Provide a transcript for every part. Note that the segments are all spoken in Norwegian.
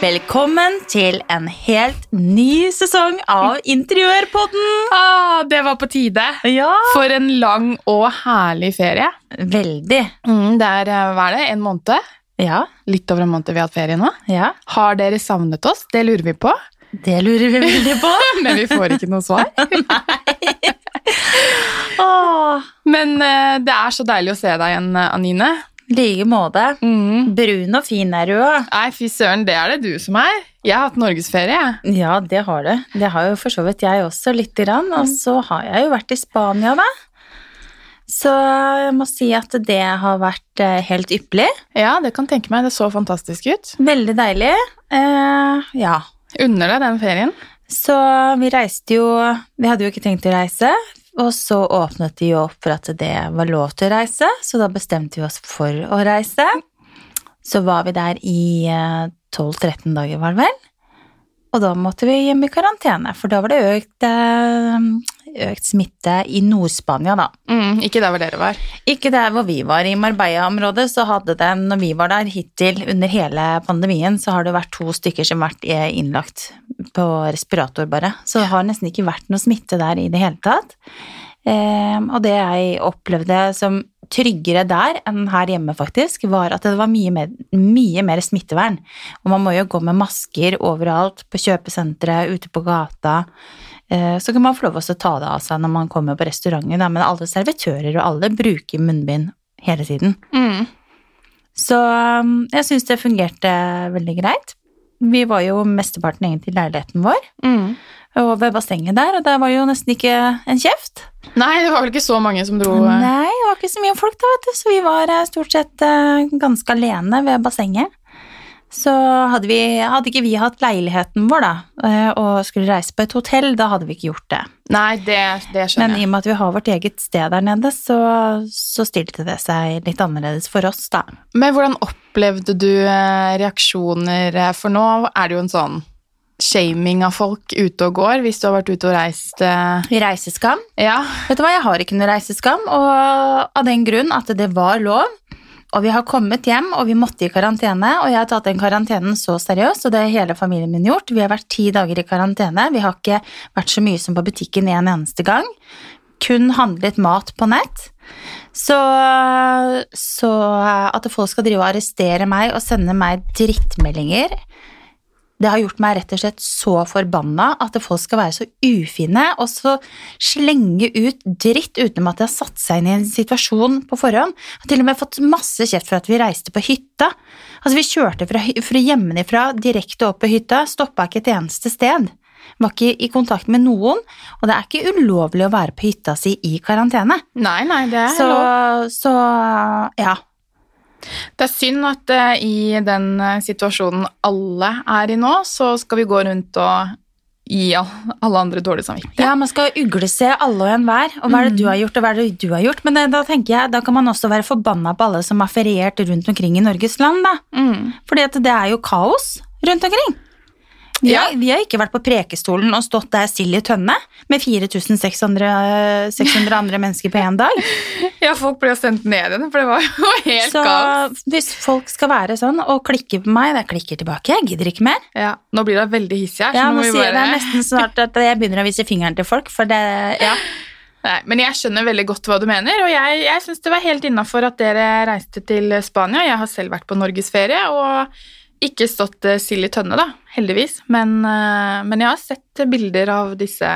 Velkommen til en helt ny sesong av Interiørpodden. Ah, det var på tide. Ja, For en lang og herlig ferie. veldig. det er eh, hva er det, en måned? Ja, Litt over en måned vi har hatt ferie nå. ja. Har dere savnet oss? Det lurer vi på. Det lurer vi veldig på. Men vi får ikke noe svar. Åh, Men eh, det er så deilig å se deg igjen, eh, Anine. like måte. Mm. Brun og fin er du også. Nei, fy søren, det er det du som er. Jeg har hatt norgesferie. jeg. Ja, det har du. Det har jo for så vidt jeg også litt. Grann. Og så har jeg jo vært i Spania, da. Så jeg må si at det har vært eh, helt ypperlig. Ja, det kan tenke meg. Det så fantastisk ut. Veldig deilig. Eh, ja. Unner deg den ferien. Så vi reiste jo Vi hadde jo ikke tenkt å reise. Og så åpnet de jo opp for at det var lov til å reise, så da bestemte vi oss for å reise. Så var vi der i eh, 12-13 dager, var det vel. Og da måtte vi hjem i karantene, for da var det økt, eh, økt smitte i Nord-Spania, da. Mm, ikke der hvor dere var. Ikke der hvor vi var. I Marbella-området så hadde det, når vi var der hittil under hele pandemien, så har det vært to stykker som har vært eh, innlagt på respirator bare. Så det har nesten ikke vært noe smitte der i det hele tatt. Eh, og det jeg opplevde som tryggere der enn her hjemme faktisk, var at det var mye mer, mye mer smittevern. Og man må jo gå med masker overalt, på kjøpesentre, ute på gata. Eh, Så kan man få lov også å ta det av seg når man kommer på restauranten, da, men alle servitører og alle bruker munnbind hele tiden. Mm. Så um, jeg syns det fungerte veldig greit. Vi var jo mesteparten egentlig i leiligheten vår, Mm. og ved bassenget der, og der var jo nesten ikke en kjeft. Nei, det var vel ikke så mange som dro. eh. Nei, det var ikke så mye folk da, vet du, så vi var eh, stort sett eh, ganske alene ved bassenget. Så hadde, vi, hadde ikke vi hatt leiligheten vår da, eh, og skulle reise på et hotell, da hadde vi ikke gjort det. Nei, det, det Men skjønner i jeg. og med at vi har vårt eget sted der nede, så, så stilte det seg litt annerledes for oss, da. Men hvordan opplevde du eh, reaksjoner? eh, For nå er det jo en sånn shaming av folk ute og går, hvis du har vært ute og reist. eh, Reiseskam. Ja, Vet du hva, jeg har ikke noe reiseskam, og av den grunn at det var lov. Og vi har kommet hjem, og vi måtte i karantene, og jeg har tatt den karantenen så seriøst, og det har hele familien min gjort. Vi har vært ti dager i karantene, vi har ikke vært så mye som på butikken en eneste gang. Kun handlet mat på nett. Så, så at folk skal drive og arrestere meg og sende meg drittmeldinger det har gjort meg rett og slett så forbanna at folk skal være så ufine og så slenge ut dritt utenom at de har satt seg inn i en situasjon på forhånd. Jeg har til og med fått masse kjeft for at vi reiste på hytta. Altså, vi kjørte fra, hy- fra hjemmefra direkte opp på hytta, stoppa ikke et eneste sted. Var ikke i kontakt med noen, og det er ikke ulovlig å være på hytta si i karantene. Nei, nei, det er Så, lov. så ja. Det er synd at eh, i den eh, situasjonen alle er i nå, så skal vi gå rundt og gi all- alle andre dårlig samvittighet. Ja, man skal uglese alle og enhver, og hva er Mm. det du har gjort, og hva er det du har gjort, men eh, da tenker jeg, da kan man også være forbanna på alle som har feriert rundt omkring i Norges land, da. Mm. Fordi at det er jo kaos rundt omkring. Vi, Ja. har, vi har ikke vært på Prekestolen og stått der sild i tønne med 4600 eh, 600 andre mennesker på én dag. Ja, folk ble sendt ned igjen, for det var jo helt Så galt. hvis folk skal være sånn og klikke på meg, da klikker jeg tilbake. Jeg gidder ikke mer. Ja, nå blir det veldig hissig her, så Ja, nå nå må vi sier jeg- bare... Det er nesten snart at jeg begynner å vise fingeren til folk, for det Ja. Nei, men jeg skjønner veldig godt hva du mener, og jeg, jeg syns det var helt innafor at dere reiste til Spania. Jeg har selv vært på norgesferie og ikke stått eh, sild i tønne, da, heldigvis. Men, eh, men jeg har sett bilder av disse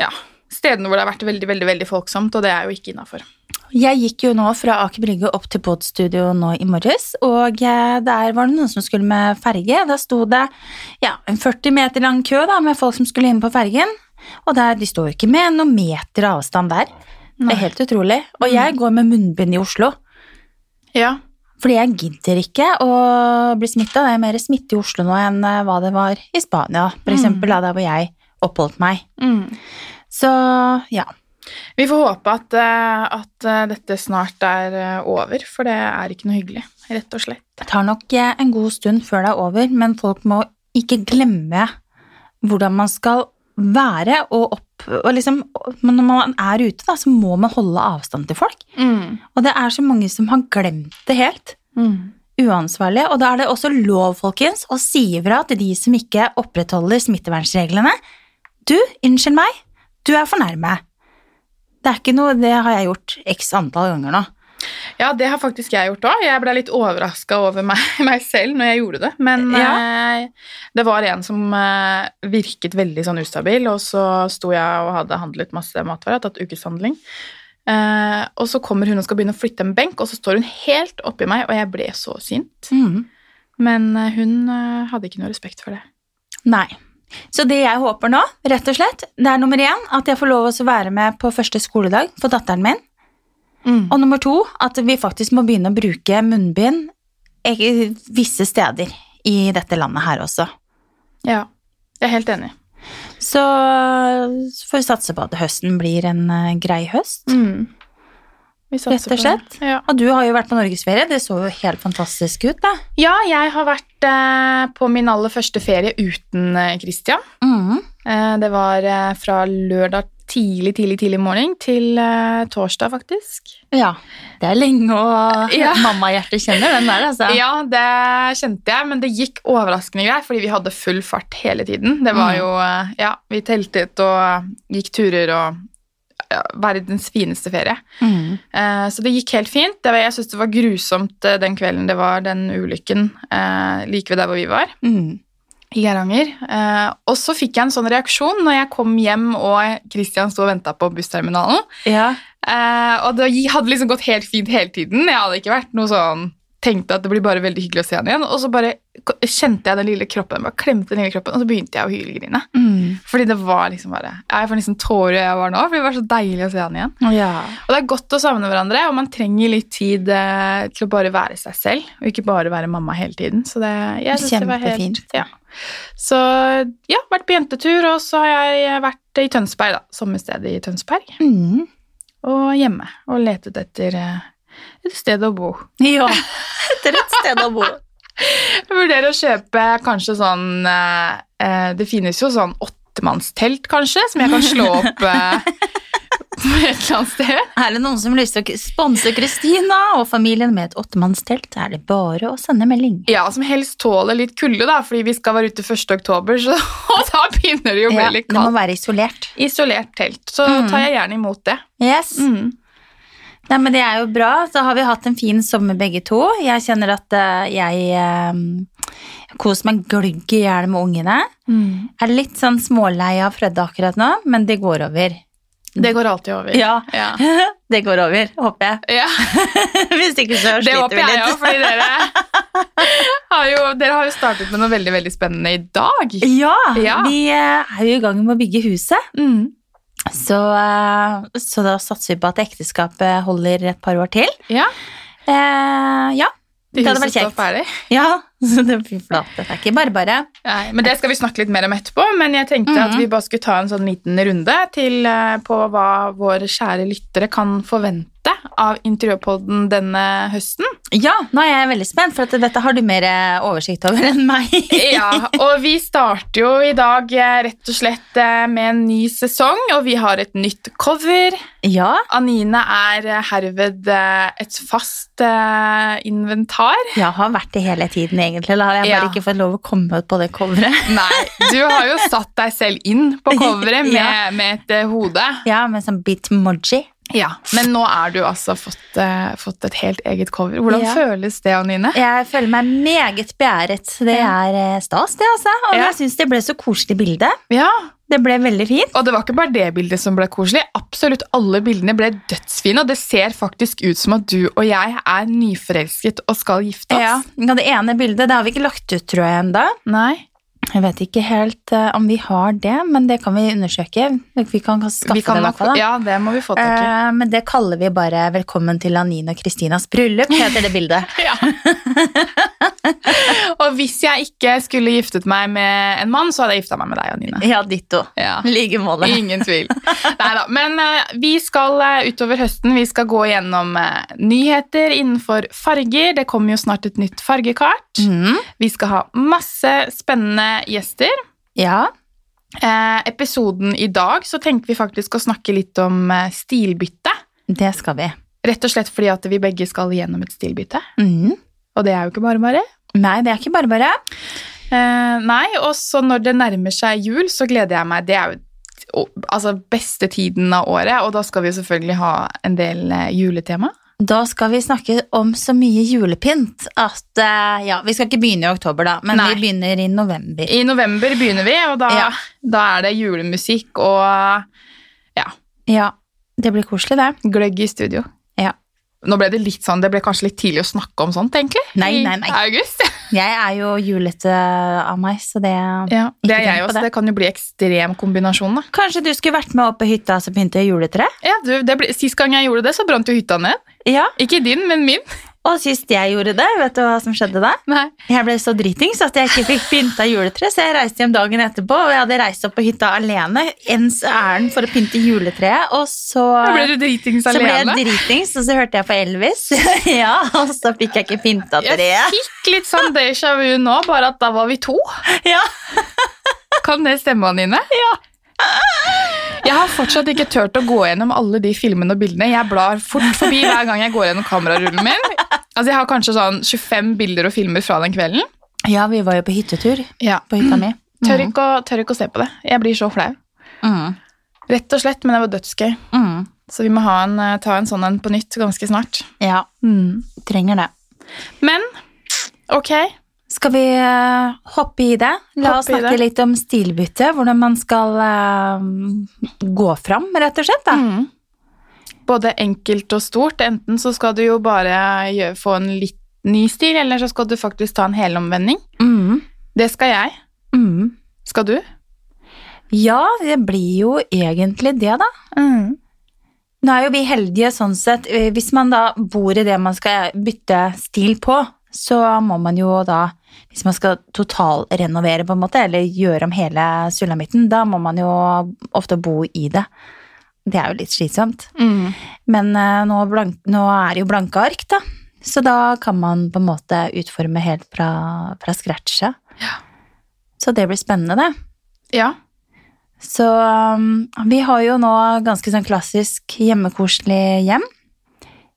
ja, stedene hvor det har vært veldig, veldig, veldig folksomt, og det er jo ikke innafor. Jeg gikk jo nå fra Aker Brygge opp til podstudio nå i morges, og eh, der var det noen som skulle med ferge. Da sto det ja, en 40 meter lang kø da, med folk som skulle inn på fergen, og der, de står jo ikke med noen meter avstand der. Det er helt utrolig. Og jeg går med munnbind i Oslo, Ja. fordi jeg gidder ikke å bli smitta. Det er mer smitte i Oslo nå enn eh, hva det var i Spania, for eksempel, da, der hvor jeg oppholdt meg. Mm. Så ja. Vi får håpe at, eh, at eh, dette snart er eh, over, for det er ikke noe hyggelig, rett og slett. Det tar nok eh, en god stund før det er over, men folk må ikke glemme hvordan man skal være og opp og liksom, men Når man er ute, da, så Mm. Mm. må man holde avstand til folk. Og det er så mange som har glemt det helt. uansvarlig, og da er det også lov, folkens, å si ifra til de som ikke opprettholder smittevernreglene. Du, unnskyld meg, du er for nærme. Det er ikke noe, det har jeg gjort x antall ganger nå. Ja, det har faktisk jeg gjort òg. Jeg ble litt overraska over meg, meg selv når jeg gjorde det. Men eh, det var en som eh, virket veldig sånn ustabil, og så sto jeg og hadde handlet masse matvarer, tatt ukeshandling. Eh, og så kommer hun og skal begynne å flytte en benk, og så står hun helt oppi meg, og jeg ble så sint. Mm. Men eh, hun eh, hadde ikke noe respekt for det. Nei. Så det jeg håper nå, rett og slett, det er nummer én at jeg får lov å være med på første skoledag for datteren min. Og nummer to, at vi faktisk må begynne å bruke munnbind eh, visse steder i dette landet her også. Ja, jeg er helt enig. Så får vi satse på at høsten blir en eh, grei høst. Vi satser Mm. Rett og på det. slett. Ja. Og du har jo vært på norgesferie, det så jo helt fantastisk ut, da. ja, jeg har vært eh, på min aller første ferie uten eh, Christian. Mm. Eh, Det var eh, fra lørdag tidlig, tidlig, tidlig morgen til eh, torsdag, faktisk. Ja. Det er lenge å Ja. Mammahjertet kjenner den der, altså. Ja. det kjente jeg, men det gikk overraskende greit, fordi vi hadde full fart hele tiden. Det Mm. var jo eh, Ja, vi teltet og gikk turer og ja, Verdens fineste ferie. Mm. Eh, Så det gikk helt fint. Det var, jeg syns det var grusomt eh, den kvelden det var den ulykken eh, like ved der hvor vi var. Mm. i Geiranger. Eh, og så fikk jeg en sånn reaksjon når jeg kom hjem og Christian sto og venta på bussterminalen. ja. Eh, og det gi- hadde liksom gått helt fint hele tiden. Jeg hadde ikke vært noe sånn Tenkte at det blir bare veldig hyggelig å se han igjen. Og så bare k- kjente jeg den lille kroppen, bare klemte den lille kroppen, og så begynte jeg å hylgrine. Mm. Fordi det var liksom bare ja, Jeg får nesten tårer i øynene nå, for det var så deilig å se han igjen. ja. Og det er godt å savne hverandre, og man trenger litt tid eh, til å bare være seg selv, og ikke bare være mamma hele tiden. Så det, jeg synes det var helt... Kjempefint. Ja. Så ja, vært på jentetur, og så har jeg vært i Tønsberg, da. Sommerstedet i Tønsberg. Mm. Og hjemme, og letet etter eh, et sted å bo. Ja. Etter et sted å bo. Jeg vurderer å kjøpe kanskje sånn eh, eh, Det finnes jo sånn åttemannstelt, kanskje, som jeg kan slå opp eh, på et eller annet sted. Er det noen som har lyst til å sponse Kristina og familien med et åttemannstelt, er det bare å sende melding. Ja, som helst tåler litt kulde, da, fordi vi skal være ute 1. oktober, så og da begynner det jo å bli Ja, det litt må kaldt. være isolert. Isolert telt. Så Mm. tar jeg gjerne imot det. Yes. Mm. Nei, men Det er jo bra. Så har vi hatt en fin sommer begge to. Jeg kjenner at eh, jeg eh, koser meg gløgg i hjel med ungene. Jeg er litt sånn smålei av Fredde akkurat nå, men det går over. Det går alltid over. Ja, Ja. det går over, håper jeg. Ja, Hvis ikke så det sliter håper vi jeg òg, litt. fordi dere har, jo, dere har jo startet med noe veldig veldig spennende i dag. Ja, Ja. vi eh, er jo i gang med å bygge huset, Mm. så, eh, så da satser vi på at ekteskapet holder et par år til. Ja, Eh, ja. Det hadde vært huset står kjekt. ferdig. ja. Så det, fy flate, det er ikke bare bare. Nei, men Det skal vi snakke litt mer om etterpå, men jeg tenkte at Mhm. vi bare skulle ta en sånn liten runde til, eh, på hva våre kjære lyttere kan forvente av Interiørpodden denne høsten. Ja, nå er jeg veldig spent, for at dette har du mer eh, oversikt over enn meg. Ja, og vi starter jo i dag eh, rett og slett eh, med en ny sesong, og vi har et nytt cover. ja, Anine er eh, herved eh, et fast eh, inventar. jeg har vært det hele tiden egentlig. Da har jeg bare Ja. ikke fått lov å komme ut på det coveret. Nei, du har jo satt deg selv inn på coveret med, Ja. med et eh, hode. Ja, med sånn bitmoji. Ja, Men nå er du altså fått, eh, fått et helt eget cover. Hvordan Ja. føles det, Anine? Jeg føler meg meget beæret. Det Ja. er eh, stas, det, altså. Og Ja. jeg syns det ble så koselig bilde. Ja, Det ble veldig fint. Og det var ikke bare det bildet som ble koselig. Absolutt alle bildene ble dødsfine, og det ser faktisk ut som at du og jeg er nyforelsket og skal gifte oss. Ja, det ene bildet det har vi ikke lagt ut, tror jeg, ennå. Nei, Jeg vet ikke helt eh, om vi har det, men det kan vi undersøke. Vi kan skaffe vi kan det, i hvert nok, fall. da. ja, det må vi få tak i. Eh, men det kaller vi bare 'Velkommen til Anine og Kristinas bryllup', heter det bildet. Ja. og hvis jeg ikke skulle giftet meg med en mann, så hadde jeg gifta meg med deg, Anine. ja, ditto. Ja. I like måte. Ingen tvil. Neida. Men eh, vi skal eh, utover høsten vi skal gå gjennom eh, nyheter innenfor farger. Det kommer jo snart et nytt fargekart. Mm, Vi skal ha masse spennende gjester. ja. Eh, episoden i dag så tenker vi faktisk å snakke litt om eh, stilbytte. Det skal vi. Rett og slett fordi at vi begge skal gjennom et stilbytte. Mm. Og det er jo ikke bare bare. Nei, det er ikke bare bare. Eh, nei, og så når det nærmer seg jul, så gleder jeg meg. Det er jo o- altså beste tiden av året, og da skal vi jo selvfølgelig ha en del eh, juletema. Da skal vi snakke om så mye julepynt at eh, Ja, vi skal ikke begynne i oktober, da, men Nei. vi begynner i november. I november begynner vi, og da, Ja. da er det julemusikk og Ja, det blir koselig, det. gløgg i studio. Ja. Nå ble det litt sånn, det ble kanskje litt tidlig å snakke om sånt, egentlig. Nei, nei, nei. I august. Jeg er jo julete av meg, så det Ja, det er tenk jeg på også. det. Det. kan jo bli ekstrem kombinasjon, da. Kanskje du skulle vært med opp på hytta som pynter juletre? Ja, du, det ble, sist gang jeg gjorde det, så brant jo hytta ned. Ja, Ikke din, men min. og sist jeg gjorde det, vet du hva som skjedde da? Nei. Jeg ble så dritings at jeg ikke fikk pynta juletre, så jeg reiste hjem dagen etterpå, og jeg hadde reist opp på hytta alene, ens ærend for å pynte juletreet, og så Da ble du dritings så ble alene. jeg dritings, og så hørte jeg på Elvis. ja, Og så fikk jeg ikke pynta treet. Jeg fikk litt sånn déjà vu nå, bare at da var vi to. Ja. Kan det stemme, Anine? Ja. Jeg har fortsatt ikke tørt å gå gjennom alle de filmene og bildene. Jeg blar fort forbi hver gang jeg går gjennom kamerarullen min. Altså, Jeg har kanskje sånn 25 bilder og filmer fra den kvelden. ja, vi var jo på hyttetur Ja. på hytta mi. Tør ikke, å, tør ikke å se på det. Jeg blir så flau. Mm. Rett og slett, men det var dødsgøy. Mm. Så vi må ha en, eh, ta en sånn en på nytt ganske snart. Ja, Mm. trenger det. Men ok, Skal vi eh, hoppe i det? La oss Hoppe i snakke det. litt om stilbytte. Hvordan man skal eh, gå fram, rett og slett. Ah. Mm. Da. både enkelt og stort. Enten så skal du jo bare gjø- få en litt ny stil, eller så skal du faktisk ta en helomvending. Mm. Det skal jeg. Mm. Skal du? Ja, det blir jo egentlig det, da. Nå er jo vi heldige sånn sett. Eh, Hvis man da bor i det man skal eh, bytte stil på, så må man jo da hvis man skal totalrenovere på en måte, eller gjøre om hele sulamitten, da må man jo ofte bo i det. Det er jo litt slitsomt. Mm. Men eh, nå, blank, nå er det jo blanke ark, da. Så da kan man på en måte utforme helt fra, fra scratchet. Så det blir spennende, det. Ja. Så um, vi har jo nå ganske sånn klassisk hjemmekoselig hjem.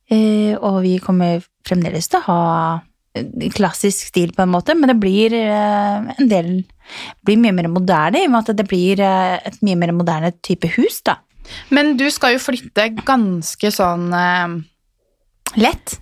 Eh, og vi kommer fremdeles til å ha eh, klassisk stil, på en måte, men det blir eh, en del blir mye mer moderne, i og med at det blir eh, et mye mer moderne type hus, da. Men du skal jo flytte ganske sånn eh, Lett.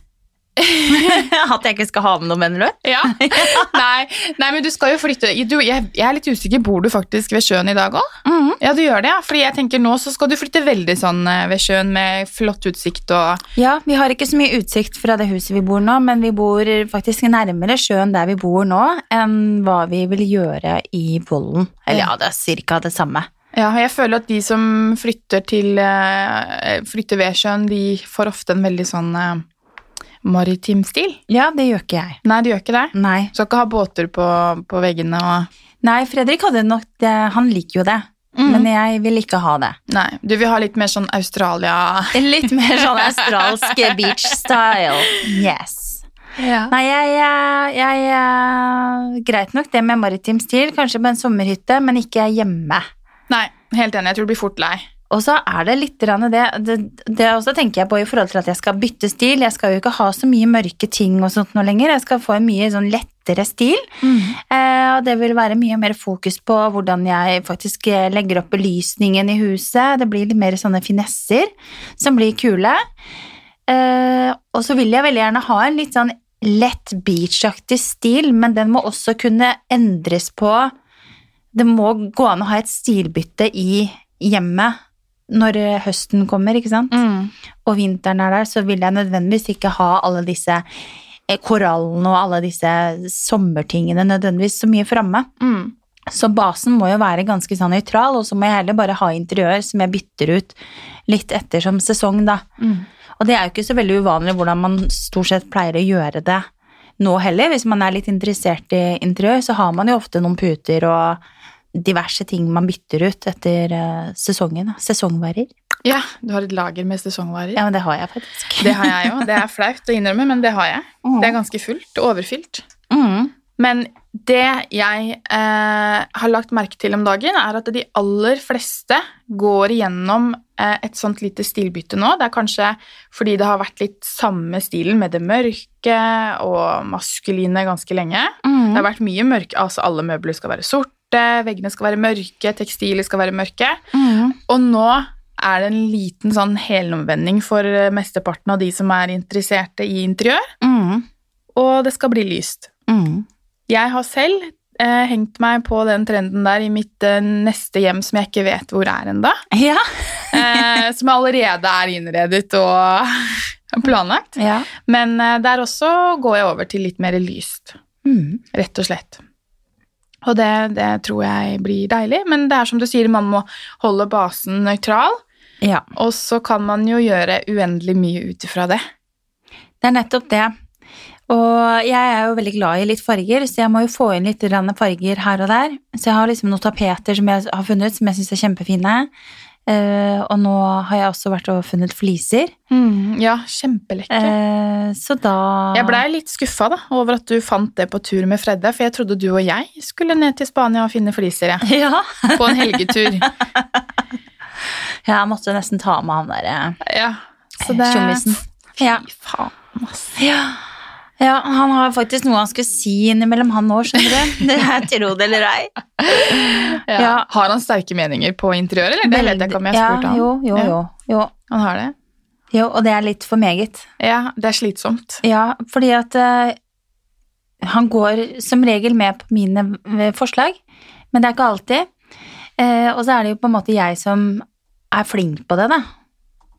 at jeg ikke skal ha med noe, mener du? Ja. nei, nei, men du skal jo flytte du, jeg, jeg er litt usikker. Bor du faktisk ved sjøen i dag òg? Mhm. Ja, du gjør det, ja. Fordi jeg tenker nå så skal du flytte veldig sånn eh, ved sjøen med flott utsikt og Ja, vi har ikke så mye utsikt fra det huset vi bor nå, men vi bor faktisk nærmere sjøen der vi bor nå, enn hva vi vil gjøre i Vollen. Eller ja, det er cirka det samme. Ja, og jeg føler at de som flytter til eh, Flytter ved sjøen, de får ofte en veldig sånn eh, maritim stil. Ja, det gjør ikke jeg. Nei, de gjør ikke det. Nei. Skal ikke ha båter på, på veggene og Nei, Fredrik hadde nok det, han liker jo det, men jeg vil ikke ha det. Nei. Du vil ha litt mer sånn Australia Litt mer sånn australsk beach style. Yes. Ja. Nei, jeg, jeg, jeg Greit nok det med maritim stil, kanskje på en sommerhytte, men ikke hjemme. Nei, helt enig. Jeg tror du blir fort lei. Og så er det litt grann det, det, det også tenker jeg på i forhold til at jeg skal bytte stil. Jeg skal jo ikke ha så mye mørke ting og sånt nå lenger. Jeg skal få en mye sånn lettere stil. Eh, og det vil være mye mer fokus på hvordan jeg faktisk eh, legger opp belysningen i huset. Det blir litt mer sånne finesser som blir kule. Eh, og så vil jeg veldig gjerne ha en litt sånn lett beachaktig stil, men den må også kunne endres på. Det må gå an å ha et stilbytte i hjemmet når eh, høsten kommer, ikke sant? og vinteren er der, så vil jeg nødvendigvis ikke ha alle disse eh, korallene og alle disse sommertingene nødvendigvis så mye framme. Mm. Så basen må jo være ganske sånn nøytral, og så må jeg heller bare ha interiør som jeg bytter ut litt etter som sesong, da. Mm. Og det er jo ikke så veldig uvanlig hvordan man stort sett pleier å gjøre det nå heller. Hvis man er litt interessert i interiør, så har man jo ofte noen puter og diverse ting man bytter ut etter eh, sesongen. da. Sesongvarer. Ja, du har et lager med sesongvarer. Ja, men det har jeg faktisk. Det har jeg jo. Det er flaut å innrømme, men det har jeg. Mm. Det er ganske fullt. Overfylt. Mm. Men det jeg eh, har lagt merke til om dagen, er at de aller fleste går igjennom eh, et sånt lite stilbytte nå. Det er kanskje fordi det har vært litt samme stilen med det mørke og maskuline ganske lenge. Mm. Det har vært mye mørke, altså alle møbler skal være sorte, veggene skal være mørke, tekstiler skal være mørke. Mm. Og nå er det en liten sånn helomvending for eh, mesteparten av de som er interesserte i interiør, Mm. og det skal bli lyst. Mm. Jeg har selv eh, hengt meg på den trenden der i mitt eh, neste hjem som jeg ikke vet hvor er enda, Ja. eh, som allerede er innredet og planlagt. ja. Men eh, der også går jeg over til litt mer lyst Mm. rett og slett. Og det, det tror jeg blir deilig, men det er som du sier, man må holde basen nøytral, ja. og så kan man jo gjøre uendelig mye ut ifra det. Det er nettopp det. Og jeg er jo veldig glad i litt farger, så jeg må jo få inn litt grann farger her og der. Så jeg har liksom noen tapeter som jeg har funnet, som jeg syns er kjempefine. Eh, og nå har jeg også vært og funnet fliser. ja, kjempelekkert. Mm. Eh, så da Jeg blei litt skuffa da, over at du fant det på tur med Fredde, for jeg trodde du og jeg skulle ned til Spania og finne fliser jeg, ja. på en helgetur. Jeg måtte nesten ta med han derre Ja, Eh, så det tjommisen. Ja. Fy faen, ass. ja. Ja, han har faktisk noe han skulle si innimellom han nå, skjønner du. Det er tro det eller ei. Ja. Ja. Har han sterke meninger på interiør, eller? Det vet jeg ikke om jeg har spurt ja, han. Jo, jo, Ja. jo, jo. Han har det? Jo, og det er litt for meget. Ja, det er slitsomt. Ja, fordi at eh, han går som regel med på mine eh, forslag, men det er ikke alltid. Eh, og så er det jo på en måte jeg som er flink på det, da.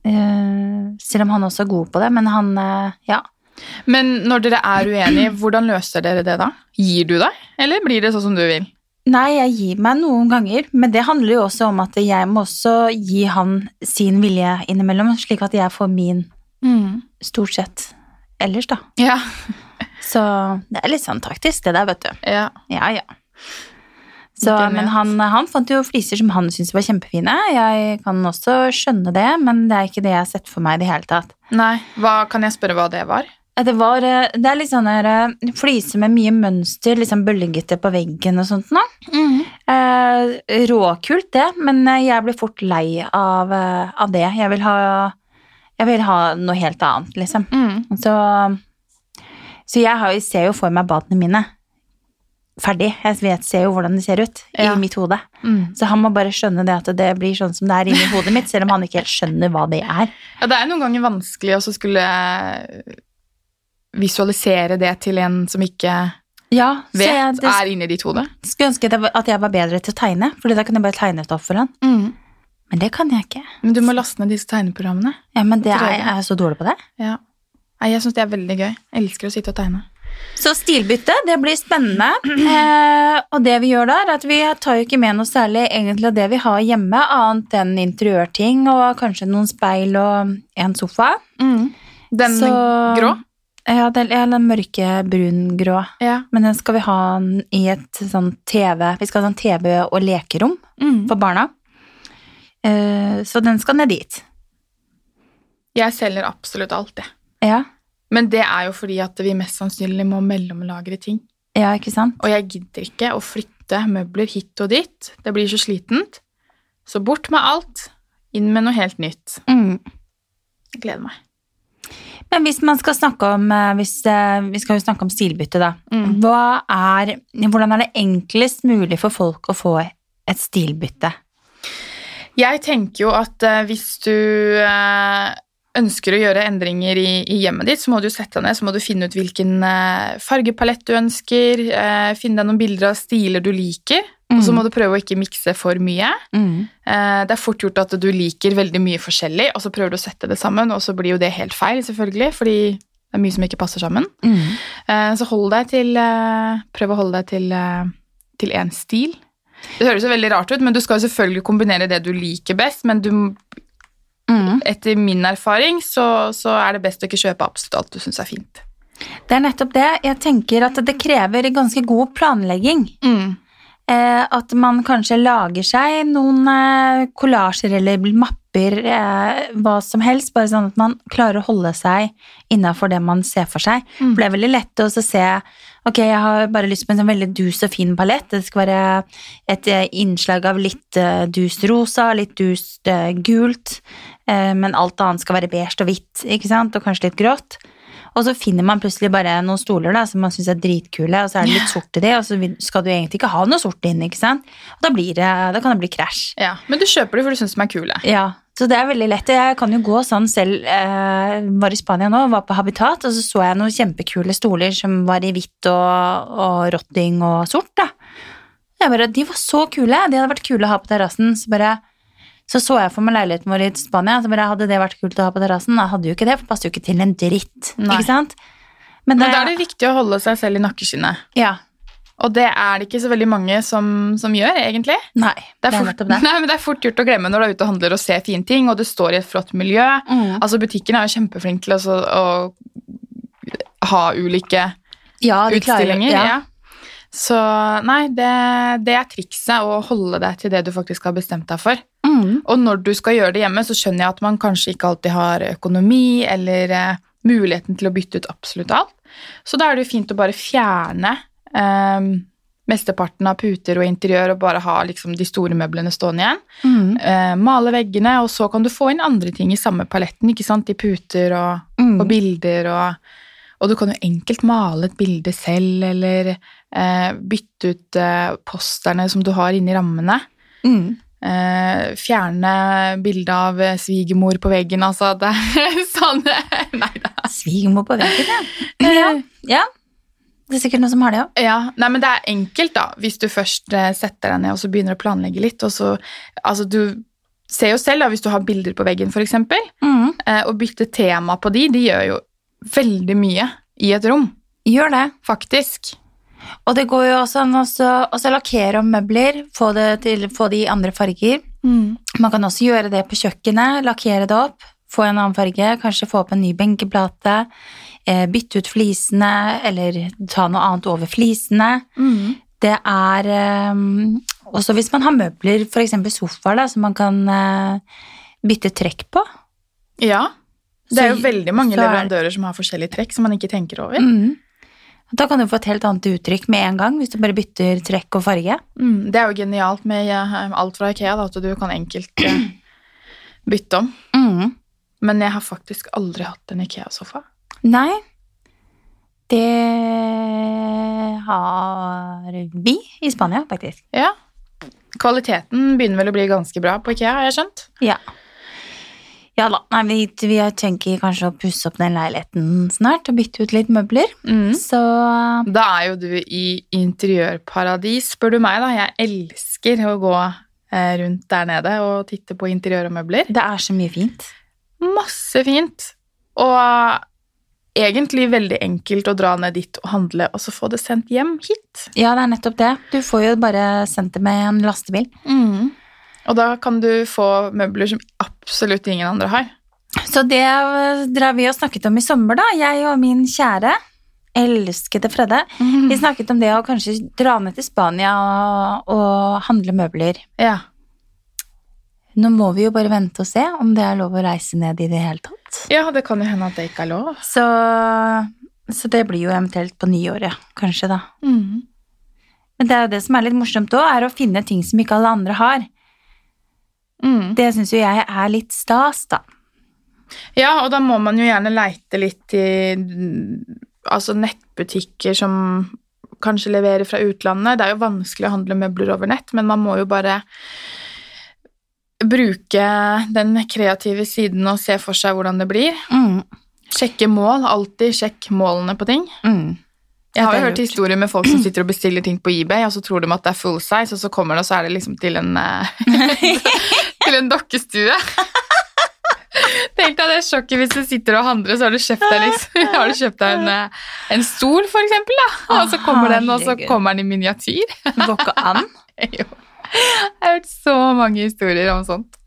Eh, selv om han også er god på det, men han eh, Ja. Men når dere er uenige, hvordan løser dere det da? Gir du deg, eller blir det sånn som du vil? Nei, jeg gir meg noen ganger, men det handler jo også om at jeg må også gi han sin vilje innimellom, slik at jeg får min Mm. stort sett ellers, da. Ja, Så det er litt sånn taktisk, det der, vet du. ja. Ja, ja. Så, Den men vet. han, han fant jo fliser som han syntes var kjempefine. Jeg kan også skjønne det, men det er ikke det jeg har sett for meg i det hele tatt. Nei, hva, kan jeg spørre hva det var? Eh, Det, var, eh, det er litt sånn her eh, fliser med mye mønster, litt sånn bølgete på veggen og sånt nå. Eh, råkult det, men eh, jeg blir fort lei av, eh, av det. Jeg vil ha, jeg vil ha noe helt annet, liksom. Mm. Så, så jeg har, jo- ser jo for meg badene mine ferdig. Jeg vet, ser jo hvordan de ser ut Ja. i mitt hode. Mm. Så han må bare skjønne det at det blir sånn som det er inni hodet mitt, selv om han ikke helt skjønner hva det er. Ja, det er noen ganger vanskelig å så skulle visualisere det til en som ikke Ja, så vet, jeg det, er inni ditt hode. skulle ønske at jeg var- at jeg var bedre til å tegne, Fordi da kan jeg bare tegne det opp for han. Men det kan jeg ikke. Men du må laste ned disse tegneprogrammene. Ja, men det er, Prøve. jeg er så dårlig på det. Ja. Nei, jeg syns det er veldig gøy. Jeg elsker å sitte og tegne. Så stilbytte, det blir spennende. Eh, og det vi gjør da, er at vi tar jo ikke med noe særlig egentlig av det vi har hjemme, annet enn interiørting og kanskje noen speil og en sofa. Den Mm. Så- grå? Ja, den, ja, den mørke brun-grå. Ja. Men den skal vi ha i et sånn TV Vi skal ha sånn TV og lekerom Mm. for barna. Eh, så den skal ned dit. Jeg selger absolutt alt, jeg. Ja, Men det er jo fordi at vi mest sannsynlig må mellomlagre ting. ja ikke sant? Og jeg gidder ikke å flytte møbler hit og dit. Det blir så slitent. Så bort med alt, inn med noe helt nytt. Mm. Jeg gleder meg. Men hvis man skal snakke om eh, hvis, eh, Vi skal jo snakke om stilbytte, da. Mm. Hva er, hvordan er det enklest mulig for folk å få et stilbytte? Jeg tenker jo at eh, hvis du eh, ønsker å gjøre endringer i, i hjemmet ditt, så må du sette deg ned, så må du finne ut hvilken eh, fargepalett du ønsker, eh, finne deg noen bilder av stiler du liker, og så må du prøve å ikke mikse for mye. Mm. Eh, Det er fort gjort at du liker veldig mye forskjellig, og så prøver du å sette det sammen, og så blir jo det helt feil, selvfølgelig, fordi det er mye som ikke passer sammen. Mm. Eh, Så hold deg til eh, Prøv å holde deg til, eh, til én stil. Det høres jo veldig rart ut, men du skal jo selvfølgelig kombinere det du liker best, men du, Mm. etter min erfaring så, så er det best å ikke kjøpe absolutt alt du syns er fint. Det er nettopp det. Jeg tenker at det krever ganske god planlegging. Mm. Eh, at man kanskje lager seg noen eh, kollasjer eller mapper, eh, hva som helst, bare sånn at man klarer å holde seg innafor det man ser for seg. Mm. For det er veldig lett å så se Ok, jeg har bare lyst på en sånn veldig dus og fin palett. Det skal være et eh, innslag av litt eh, dust rosa, litt dust eh, gult, eh, men alt annet skal være beige og hvitt, ikke sant? Og kanskje litt grått. Og så finner man plutselig bare noen stoler da, som man syns er dritkule, og så er det litt sort i de, og så vil- skal du egentlig ikke ha noe sort inn, ikke sant? Og da, blir det, da kan det bli krasj. Ja, Men du kjøper de for du syns de er kule. Ja, så det er veldig lett. Jeg kan jo gå sånn selv. Eh, var i Spania nå, var på Habitat, og så så jeg noen kjempekule stoler som var i hvitt og, og rotting og sort. da. Jeg bare, De var så kule! De hadde vært kule å ha på terrassen. Så bare, så så jeg for meg leiligheten vår i Spania, så bare, hadde det vært kult å ha på terrassen? Da hadde jo ikke det, for det passer jo ikke til en dritt. Nei. ikke sant? Men da er det viktig å holde seg selv i nakkeskinnet. Ja, Og det er det ikke så veldig mange som, som gjør, egentlig. nei, Det er, fort, nettopp nei, det. men det er fort gjort å glemme når du er ute og handler og ser fine ting, og du står i et flott miljø. Mm. Altså, Butikken er jo kjempeflink til å så- å ha ulike Ja, de klarer- utstillinger. Ja. Så nei, det, det er trikset å holde deg til det du faktisk har bestemt deg for. Mm. Og når du skal gjøre det hjemme, så skjønner jeg at man kanskje ikke alltid har økonomi eller eh, muligheten til å bytte ut absolutt alt. Så da er det jo fint å bare fjerne eh, mesteparten av puter og interiør og bare ha liksom, de store møblene stående igjen. Mm. Eh, male veggene, og så kan du få inn andre ting i samme paletten, ikke sant? I puter og, Mm. og bilder og Og du kan jo enkelt male et bilde selv, eller eh, bytte ut eh, posterne som du har inni rammene. Mm. Eh, fjerne bilde av eh, svigermor på veggen, altså. Det er sånne Nei da. Svigermor på veggen, ja. ja. Ja. Det er sikkert noen som har det òg. Ja, nei, men det er enkelt, da. Hvis du først eh, setter deg ned og så begynner å planlegge litt. Og så, altså, du ser jo selv, da, hvis du har bilder på veggen, f.eks., eh, og bytte tema på de, de gjør jo veldig mye i et rom, Gjør det. faktisk. Og det går jo også an å så- å så lakkere om møbler, få det, til, få det i andre farger. Man kan også gjøre det på kjøkkenet, lakkere det opp, få en annen farge, kanskje få opp en ny benkeplate, eh, bytte ut flisene, eller ta noe annet over flisene. Det er eh, også hvis man har møbler, f.eks. sofaer, da, som man kan eh, bytte trekk på. Ja. Det er jo Så- veldig mange så er- leverandører som har forskjellige trekk som man ikke tenker over. Mm. Da kan du få et helt annet uttrykk med en gang, hvis du bare bytter trekk og farge. Mm, det er jo genialt med eh, alt fra Ikea, da, at du kan enkelt eh, bytte om. Mm. Men jeg har faktisk aldri hatt en Ikea-sofa. Nei, det har vi i Spania, faktisk. Ja. Kvaliteten begynner vel å bli ganske bra på Ikea, har jeg skjønt. Ja. Ja da, Nei, vi, vi tenker kanskje å pusse opp den leiligheten snart og bytte ut litt møbler. Så Da er jo du i interiørparadis, spør du meg, da. Jeg elsker å gå eh, rundt der nede og titte på interiør og møbler. det er så mye fint. Masse fint. Og egentlig veldig enkelt å dra ned dit og handle, og så få det sendt hjem hit. Ja, det er nettopp det. Du får jo bare sendt det med en lastebil. Og da kan du få møbler som absolutt ingen andre har. Så det eh, drar vi og snakket om i sommer, da. Jeg og min kjære, elskede Fredde, Vi snakket om det å kanskje dra ned til Spania og, og handle møbler. Ja. Nå må vi jo bare vente og se om det er lov å reise ned i det hele tatt. ja, det kan jo hende at det ikke er lov. Så, så det blir jo eventuelt på nyåret, kanskje, da. Men det er jo det som er litt morsomt òg, er å finne ting som ikke alle andre har. Mm. Det syns jo jeg er litt stas, da. Ja, og da må man jo gjerne leite litt i mm, altså nettbutikker som kanskje leverer fra utlandet. Det er jo vanskelig å handle møbler over nett, men man må jo bare bruke den kreative siden og se for seg hvordan det blir. Mm, Sjekke mål, alltid sjekk målene på ting. mm. Jeg har Det er jo hørt lurt. historier med folk som sitter og bestiller ting på eBay, og så tror de at det er full size, og så kommer det, og så er det liksom til en, eh, til en dokkestue. Tenk deg det sjokket hvis du sitter og handler, så har du kjøpt deg, liksom, har du kjøpt deg en, eh, en stol, for eksempel, da. og så kommer den, og så Herregud. kommer den i miniatyr. Det går ikke an. Jo. Jeg har hørt så mange historier om sånt.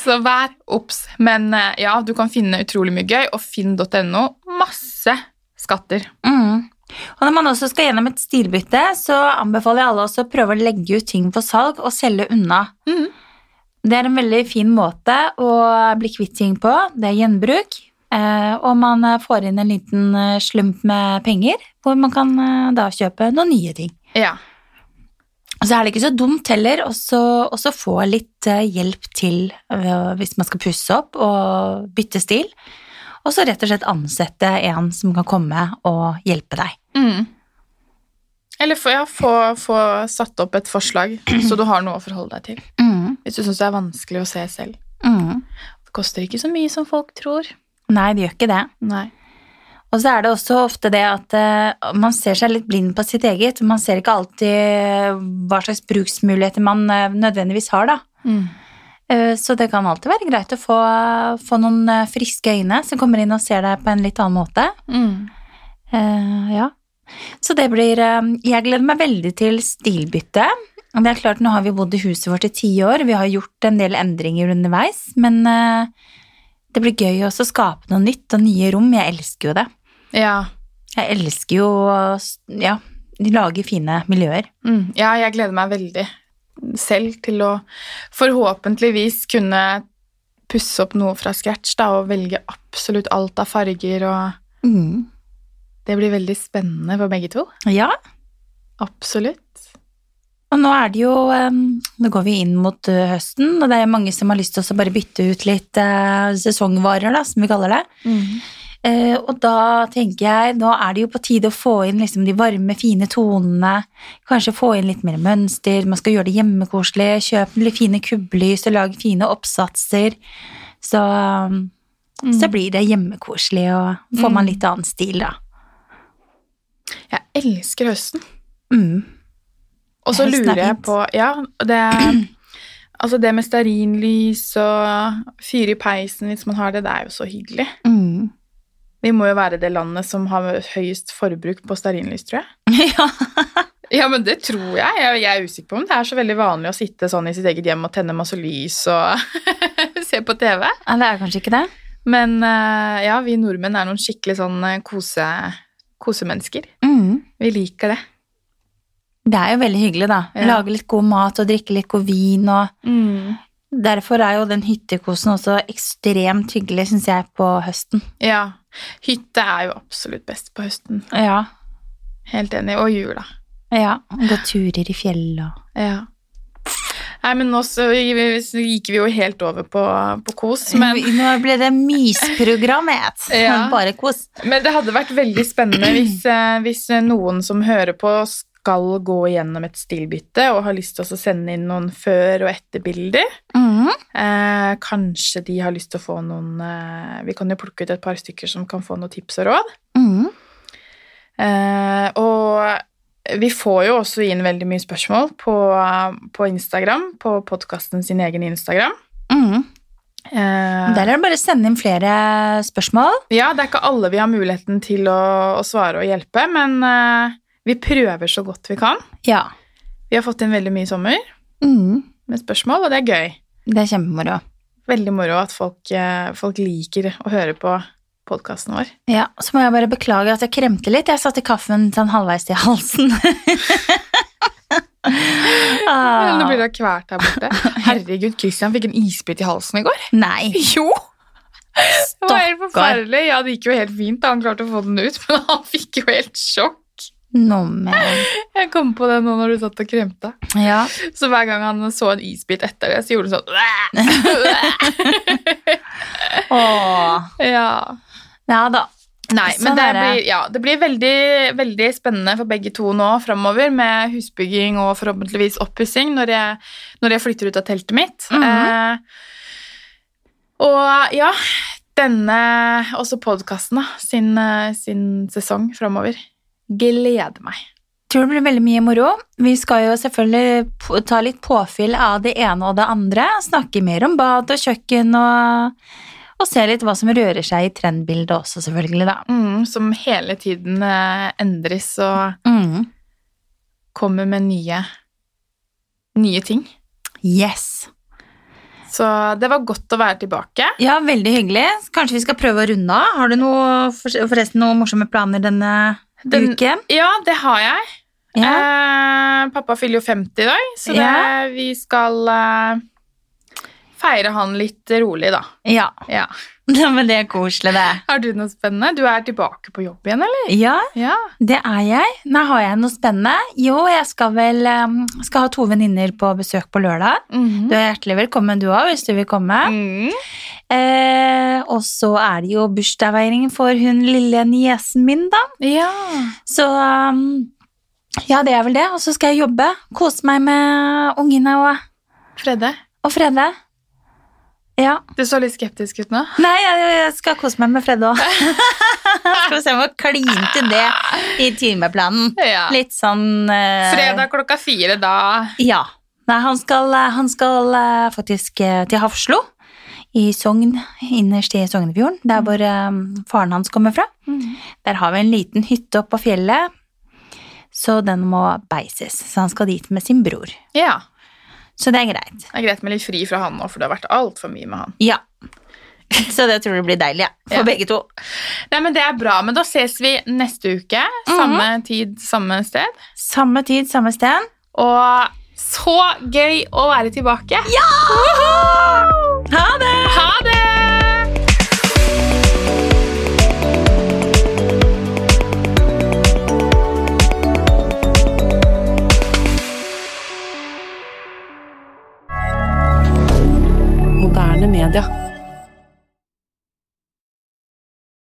Så vær obs. Men eh, ja, du kan finne utrolig mye gøy, og finn.no, masse skatter. Mm. Og når man også skal gjennom et stilbytte, så anbefaler jeg alle også å prøve å legge ut ting for salg og selge unna. Mhm. Det er en veldig fin måte å bli kvitt ting på. Det er gjenbruk. Eh, og man eh, får inn en liten eh, slump med penger, hvor man kan eh, da kjøpe noen nye ting. Ja. Og så er det ikke så dumt heller også også få litt eh, hjelp til eh, hvis man skal pusse opp og bytte stil. Og så rett og slett ansette en som kan komme og hjelpe deg. Mm. Eller få, ja, få, få satt opp et forslag, så du har noe å forholde deg til. Mm, Hvis du syns det er vanskelig å se selv. mm. Det koster ikke så mye som folk tror. Nei, det gjør ikke det. Nei. Og så er det også ofte det at eh, man ser seg litt blind på sitt eget. Man ser ikke alltid hva slags bruksmuligheter man eh, nødvendigvis har, da. Mm. Eh, Så det kan alltid være greit å få, få noen eh, friske øyne som kommer inn og ser deg på en litt annen måte. Mm. Eh, ja. Så det blir eh, Jeg gleder meg veldig til stilbytte. Og Det er klart, Nå har vi bodd i huset vårt i ti år, vi har gjort en del endringer underveis. Men eh, det blir gøy også å skape noe nytt og nye rom. Jeg elsker jo det. Ja. Jeg elsker jo å s- ja, lage fine miljøer. Mm. ja, jeg gleder meg veldig selv til å forhåpentligvis kunne pusse opp noe fra scratch da, og velge absolutt alt av farger. Og det blir veldig spennende for begge to. Ja, Absolutt. og nå er det jo eh, Nå går vi inn mot eh, høsten, og det er mange som har lyst til å bare bytte ut litt eh, sesongvarer, da, som vi kaller det. Mm. Eh, og da tenker jeg, nå er det jo på tide å få inn liksom de varme, fine tonene. Kanskje få inn litt mer mønster. Man skal gjøre det hjemmekoselig. Kjøp litt fine kubbelys og lag fine oppsatser. Så, så blir det hjemmekoselig, og får man litt annen stil, da. Jeg elsker høsten. Mm. Og så Høsten er lurer jeg fint. på Ja, det Altså det med stearinlys og fyre i peisen hvis man har det, det er jo så hyggelig. Mm. Vi må jo være det landet som har høyest forbruk på stearinlys, tror jeg. ja. Ja, men det tror jeg. jeg. Jeg er usikker på om det er så veldig vanlig å sitte sånn i sitt eget hjem og tenne masse lys og se på TV. ja, det er kanskje ikke det. Men eh, ja, vi nordmenn er noen skikkelig sånn eh, kose, kosemennesker. Mm. Vi liker det. Det er jo veldig hyggelig, da. Ja. Lage litt god mat og drikke litt god vin og Mm. Derfor er jo den hyttekosen også ekstremt hyggelig, syns jeg, på høsten. Ja. Hytte er jo absolutt best på høsten. Ja. Helt enig. Og jula. Ja, gå turer i fjell og Ja. Nei, men nå så gikk vi jo helt over på, på kos, men Nå ble det mysprogrammet. Ja. Bare kos. Men det hadde vært veldig spennende hvis, eh, hvis noen som hører på skal gå igjennom et stilbytte og har lyst til å sende inn noen før- og etterbilder. Mm. Eh, kanskje de har lyst til å få noen eh, Vi kan jo plukke ut et par stykker som kan få noen tips og råd. Mm. Eh, og vi får jo også inn veldig mye spørsmål på, på Instagram, på podkasten sin egen Instagram. Mm. Eh, Der er det bare å sende inn flere spørsmål. Ja, det er ikke alle vi har muligheten til å, å svare og hjelpe, men eh, vi prøver så godt vi kan. Ja. Vi har fått inn veldig mye i sommer med spørsmål, og det er gøy. Mm. Det er kjempemoro. Veldig moro at folk, eh, folk liker å høre på podkasten vår. Ja, så må jeg bare beklage at jeg kremte litt. Jeg satte kaffen sånn halvveis til halsen. Men Nå ah, blir det kvalt her borte. Herregud, Christian fikk en isbit i halsen i går. nei, Jo! Det var helt Stakkar. forferdelig. Ja, det gikk jo helt fint. da Han klarte å få den ut, men han fikk jo helt sjokk. nå men. Jeg kom på det nå når du satt og kremte. Ja. Så hver gang han så en isbit etter det, så gjorde han sånn Åh. Ja. ja da. Nei, Sånn men det er det. blir, ja, det blir veldig, veldig spennende for begge to nå framover med husbygging og forhåpentligvis oppussing når, jeg- når jeg flytter ut av teltet mitt. Mhm. eh, og ja, denne også podkasten da, sin, eh, sin sesong framover. Gleder meg. tror det blir veldig mye moro. Vi skal jo selvfølgelig p- ta litt påfyll av det ene og det andre. Snakke mer om bad og kjøkken og, og se litt hva som rører seg i trendbildet også, selvfølgelig, da. Mm, som hele tiden eh, endres og Mm. kommer med nye, nye ting. Yes. Så det var godt å være tilbake. Ja, veldig hyggelig. Kanskje vi skal prøve å runde av. Har du noe, for- forresten noen morsomme planer denne Den- uken? Ja, det har jeg. Ja. Eh, pappa fyller jo 50 i dag, så det, Ja. vi skal eh, feire han litt rolig, da. ja. Ja. Nei, Men det er koselig, det. Har du noe spennende? Du er tilbake på jobb igjen, eller? Ja, Ja. det er jeg. Nei, har jeg noe spennende? Jo, jeg skal vel em, skal ha to venninner på besøk på lørdag. Mhm. Du er hjertelig velkommen du òg, hvis du vil komme. Mm. Eh, og så er det jo bursdagsfeiring for hun lille niesen min, da. Ja. Så um, ja, det er vel det. Og så skal jeg jobbe. Kose meg med ungene og, Fredde, og Fredde. Ja. du så litt skeptisk ut nå. Nei, jeg, jeg skal kose meg med Fredde òg. skal vi se om vi klinte det i timeplanen. Ja. Litt sånn eh, Fredag klokka fire, da. Ja. Nei, han skal, han skal eh, faktisk eh, til Hafslo. I Sogn, innerst i Sognefjorden, der hvor eh, faren hans kommer fra. Der har vi en liten hytte oppe på fjellet, så den må beises. Så han skal dit med sin bror. Ja. Så det er greit. Det er greit med litt fri fra han nå, for det har vært altfor mye med han. Ja. Så det tror jeg blir deilig, ja. for Ja. begge to. Nei, men Det er bra, men da ses vi neste uke. Samme tid, samme sted. Samme tid, samme sted. Og så gøy å være tilbake! Ja! Ha det! Ha det! Moderne media.